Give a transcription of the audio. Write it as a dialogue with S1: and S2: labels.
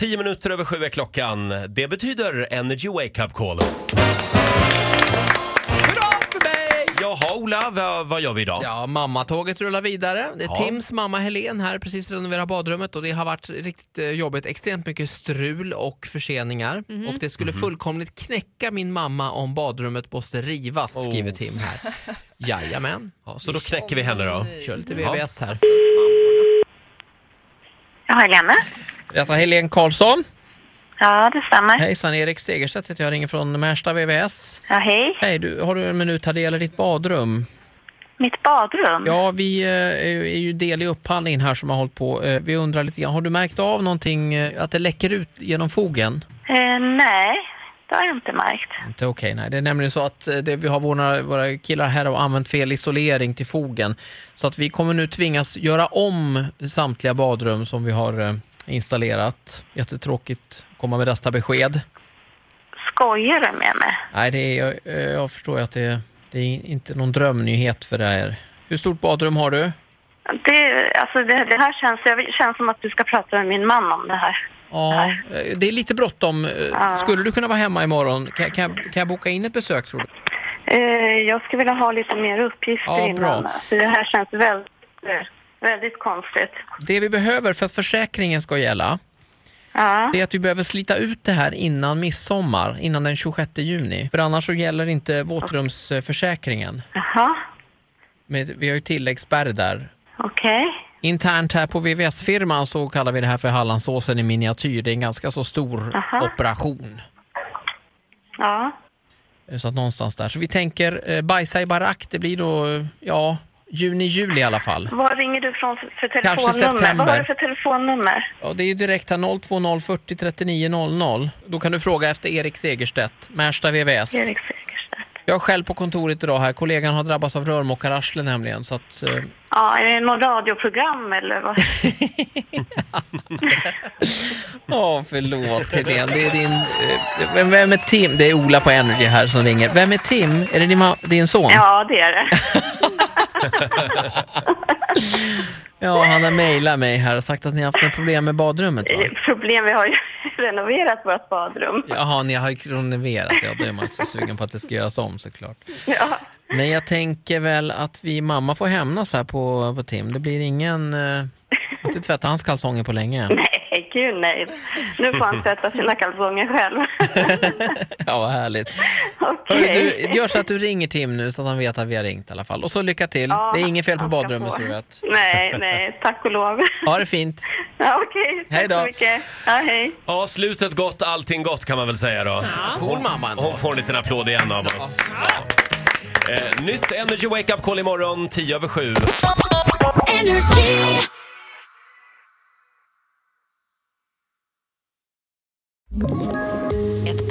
S1: Tio minuter över sju är klockan. Det betyder Energy Wake Up Call.
S2: Bra för mig!
S1: Jaha, Ola, vad, vad gör vi idag?
S2: Ja, mammatåget rullar vidare. Det är
S1: Ja.
S2: Tims mamma Helen här precis renoverar badrummet och det har varit riktigt eh, jobbigt. Extremt mycket strul och förseningar. Och det skulle fullkomligt knäcka min mamma om badrummet måste rivas, skriver Tim här. Jajamän.
S1: Ja, så då knäcker vi henne då.
S2: Kör lite
S1: Ja.
S2: VVS här.
S3: Ja, Helene?
S2: Detta är Helen Karlsson.
S3: Ja, det stämmer.
S2: Hejsan, Erik Segerstedt heter jag. ringer från Märsta VVS.
S3: Ja, hej.
S2: Hej, du, har du en minut här? Det gäller ditt badrum.
S3: Mitt badrum?
S2: Ja, vi eh, är ju del i upphandlingen här som har hållit på. Eh, Vi undrar lite grann, har du märkt av någonting, eh, att det läcker ut genom fogen?
S3: Eh, nej, det har jag inte märkt.
S2: Inte okej, nej. Det är nämligen så att eh, det, vi har våra, våra killar här har använt fel isolering till fogen. Så att vi kommer nu tvingas göra om samtliga badrum som vi har eh, installerat. Jättetråkigt att komma med detta besked.
S3: Skojar du med mig?
S2: Nej, det är, jag, jag förstår ju att det, det är inte någon drömnyhet för er. Hur stort badrum har du?
S3: Det, alltså det, det här känns, jag, känns som att du ska prata med min man om det här.
S2: Ja, eh, det är lite bråttom. Eh, Skulle du kunna vara hemma imorgon? Kan, kan, jag- kan jag boka in ett besök tror du?
S3: Eh, jag skulle vilja ha lite mer uppgifter
S2: Ja,
S3: innan.
S2: bra.
S3: Alltså, det här känns väldigt, eh, väldigt konstigt.
S2: Det vi behöver för att försäkringen ska gälla,
S3: Ja,
S2: det är att vi behöver slita ut det här innan midsommar, innan den 26 juni. För annars så gäller inte våtrumsförsäkringen.
S3: jaha,
S2: Med, vi har ju tilläggsspärr där.
S3: okej.
S2: Internt här på VVS-firman så kallar vi det här för Hallandsåsen i miniatyr. Det är en ganska så stor
S3: Aha.
S2: operation.
S3: Ja,
S2: Eh, Så att någonstans där. Så vi tänker eh, bajsa i barack, det blir då, eh, ja, juni-juli i alla fall.
S3: vad ringer du från för- för
S2: Kanske
S3: telefonnummer? Vad
S2: september.
S3: har du för telefonnummer?
S2: Ja, det är ju direkt här 020 40 39 00. Då kan du fråga efter Erik Segerstedt, Märsta VVS.
S3: Erik Segerstedt.
S2: Jag är själv på kontoret idag här. Kollegan har drabbats av rörmokararsle nämligen. Så att, eh,
S3: Ja, är det något radioprogram eller vad?
S2: ja, förlåt Helene. Det är din... Eh, vem, vem är Tim? Det är Ola på Energy här som ringer. Vem är Tim? Är det din, ma- din son?
S3: Ja, det är det.
S2: Ja, han har mejlat mig här och sagt att ni har haft några problem med badrummet
S3: Eh.
S2: va?
S3: Problem, vi har ju renoverat vårt badrum.
S2: Jaha, ni har ju kronoverat. Ja, då är man inte så sugen på att det ska göras om såklart.
S3: Ja.
S2: Men jag tänker väl att vi mamma får hämnas här på, på Tim. Det blir ingen... Eh, inte tvätta hans kalsonger på länge.
S3: Nej, gud nej. Nu får han tvätta sina kalsonger själv.
S2: Ja, vad härligt. Hörru,
S3: Okej.
S2: Du, gör så att du ringer Tim nu så att han vet att vi har ringt i alla fall. Och så lycka till.
S3: Ja,
S2: det är inget fel på
S3: han ska
S2: badrummet
S3: få.
S2: så du vet.
S3: Nej, nej, tack och lov.
S2: Ha det fint.
S3: Ja, Okej,
S2: Hej
S3: tack
S2: då.
S3: så mycket. Ja, hej.
S1: Ja, slutet gott, allting gott kan man väl säga då.
S2: Cool mamma ändå.
S1: Hon får en liten applåd igen av oss. Ja. Eh, nytt Energy Wake Up Call imorgon, 10 över 7.
S4: Energy.
S5: Ett